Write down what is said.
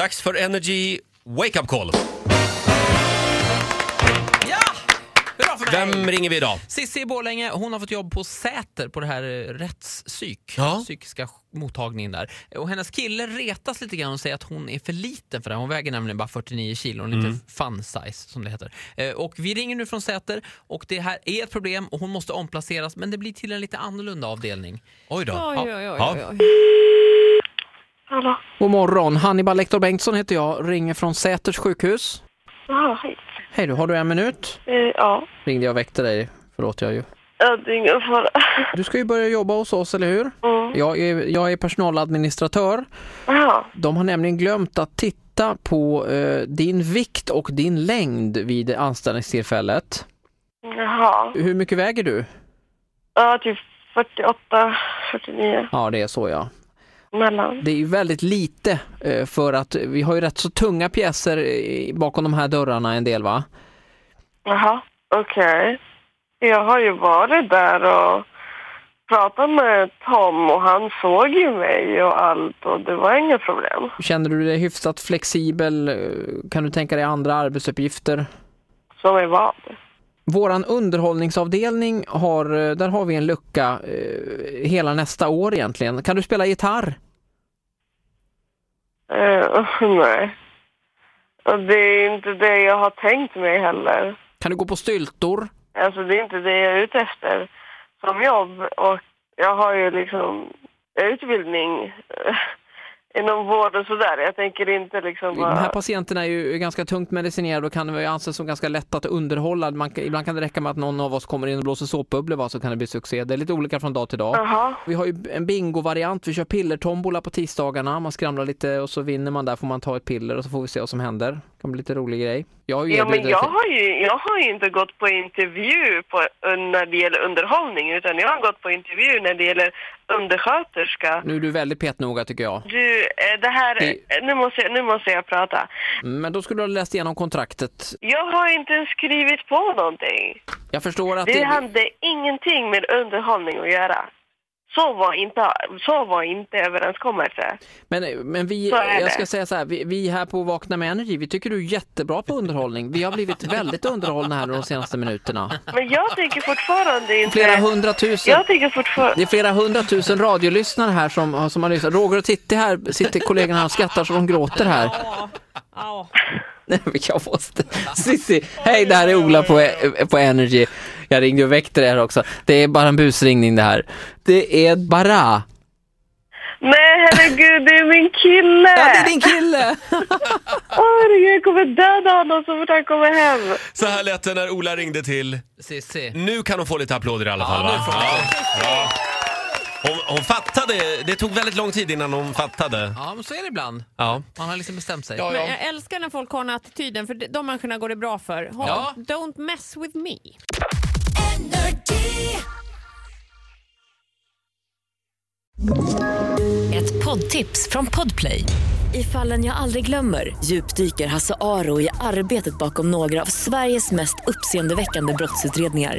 Dags för Energy Wake Up Call. Ja! Hurra för mig! Vem ringer vi idag? Cissi i Borlänge, hon har fått jobb på Säter på det här eh, rättspsyk, Ja. psykiska mottagningen där. Och hennes kille retas lite grann och säger att hon är för liten för det här. Hon väger nämligen bara 49 kilo, en Mm. liten fun size som det heter. Eh, Och vi ringer nu från Säter och det här är ett problem och hon måste omplaceras men det blir till en lite annorlunda avdelning. Oj då. Oj, oj, oj, Ja. oj, oj. Hallå? God morgon, Hannibal Lektor Bengtsson heter jag, ringer från Säters sjukhus. Jaha, hej. Hej du, har du en minut? Eh, ja. Ringde jag och väckte dig, förlåt jag ju. ja, det är ingen fara. Du ska ju börja jobba hos oss, eller hur? Mm. Jag är, jag är personaladministratör. Jaha, De har nämligen glömt att titta på eh, din vikt och din längd vid anställningstillfället. jaha. Hur mycket väger du? Ja, typ 48, 49 Ja, det är så ja. mellan. Det är ju väldigt lite eh, för att vi har ju rätt så tunga pjäser eh, bakom de här dörrarna en del va? Jaha, okej. Jag har ju varit där och pratat med Tom och han såg ju mig och allt och det var inga problem. Känner du dig hyfsat flexibel? Eh, Kan du tänka dig andra arbetsuppgifter? Som är vad. Våran underhållningsavdelning har, eh, där har vi en lucka eh, hela nästa år egentligen. Kan du spela gitarr? Eh, nej. Och det är inte det jag har tänkt mig heller. Kan du gå på styltor? Alltså det är inte det jag är ute efter som jobb och jag har ju liksom utbildning eh, inom vård och sådär. Jag tänker inte liksom De här bara... patienterna är ju ganska tungt medicinerade och kan ju anses som ganska lätta att underhålla. Man, kan- ibland kan det räcka med att någon av oss kommer in och blåser såpbubblor va, så kan det bli succé. Det är lite olika från dag till dag. Jaha, Vi har ju en bingo-variant, vi kör pillertombola på tisdagarna. Man skramlar lite och så vinner man där får man ta ett piller och så får vi se vad som händer. Det kan bli lite rolig grej. Jag har ju ja men erbjudit- jag har ju jag har ju inte gått på intervju på, när det gäller underhållning utan jag har gått på intervju när det gäller undersköterska. Nu är du väldigt petnoga tycker jag. Du, eh, det här... Det- Nu måste, jag- nu måste jag prata. Men då skulle du ha läst igenom kontraktet. Jag har inte ens skrivit på någonting. Jag förstår att Det det... hade ingenting med underhållning att göra. Så var inte, så var inte överenskommelse. Men, men vi, Så är det. jag ska säga så här, vi, vi här på Vakna med Energy, vi tycker du är jättebra på underhållning. Vi har blivit väldigt underhållna här de senaste minuterna. Men jag tänker fortfarande inte... Flera hundratusen. Jag tänker fortfarande... Det är flera hundratusen radiolyssnare här som, som har lyssnat. Roger och Titti här sitter kollegorna och skrattar så de gråter här. Ja, ja. Nej, men jag måste. Sissi, hej det här är Ola på, E- på Energy. Jag ringde och väckte det här också. Det är bara en busringning det här. Det är bara. Nej, herregud, det är min kille! Ja, det är din kille! Åh, herregud, jag kommer döda honom så fort han kommer hem. Så här lät det när Ola ringde till. Cissi. Nu kan hon få lite applåder i alla fall nu va? får hon Ja. Hon, hon fattade, det tog väldigt lång tid innan hon fattade. Ja, men så är det ibland. Ja. Man har liksom bestämt sig. Ja, Men ja. jag älskar när folk har den attityden, för de människorna går det bra för. Håll- Ja. Don't mess with me. Ett poddtips från Podplay. I fallen jag aldrig glömmer djupdyker Hasse Aro i arbetet bakom några av Sveriges mest uppseendeväckande brottsutredningar.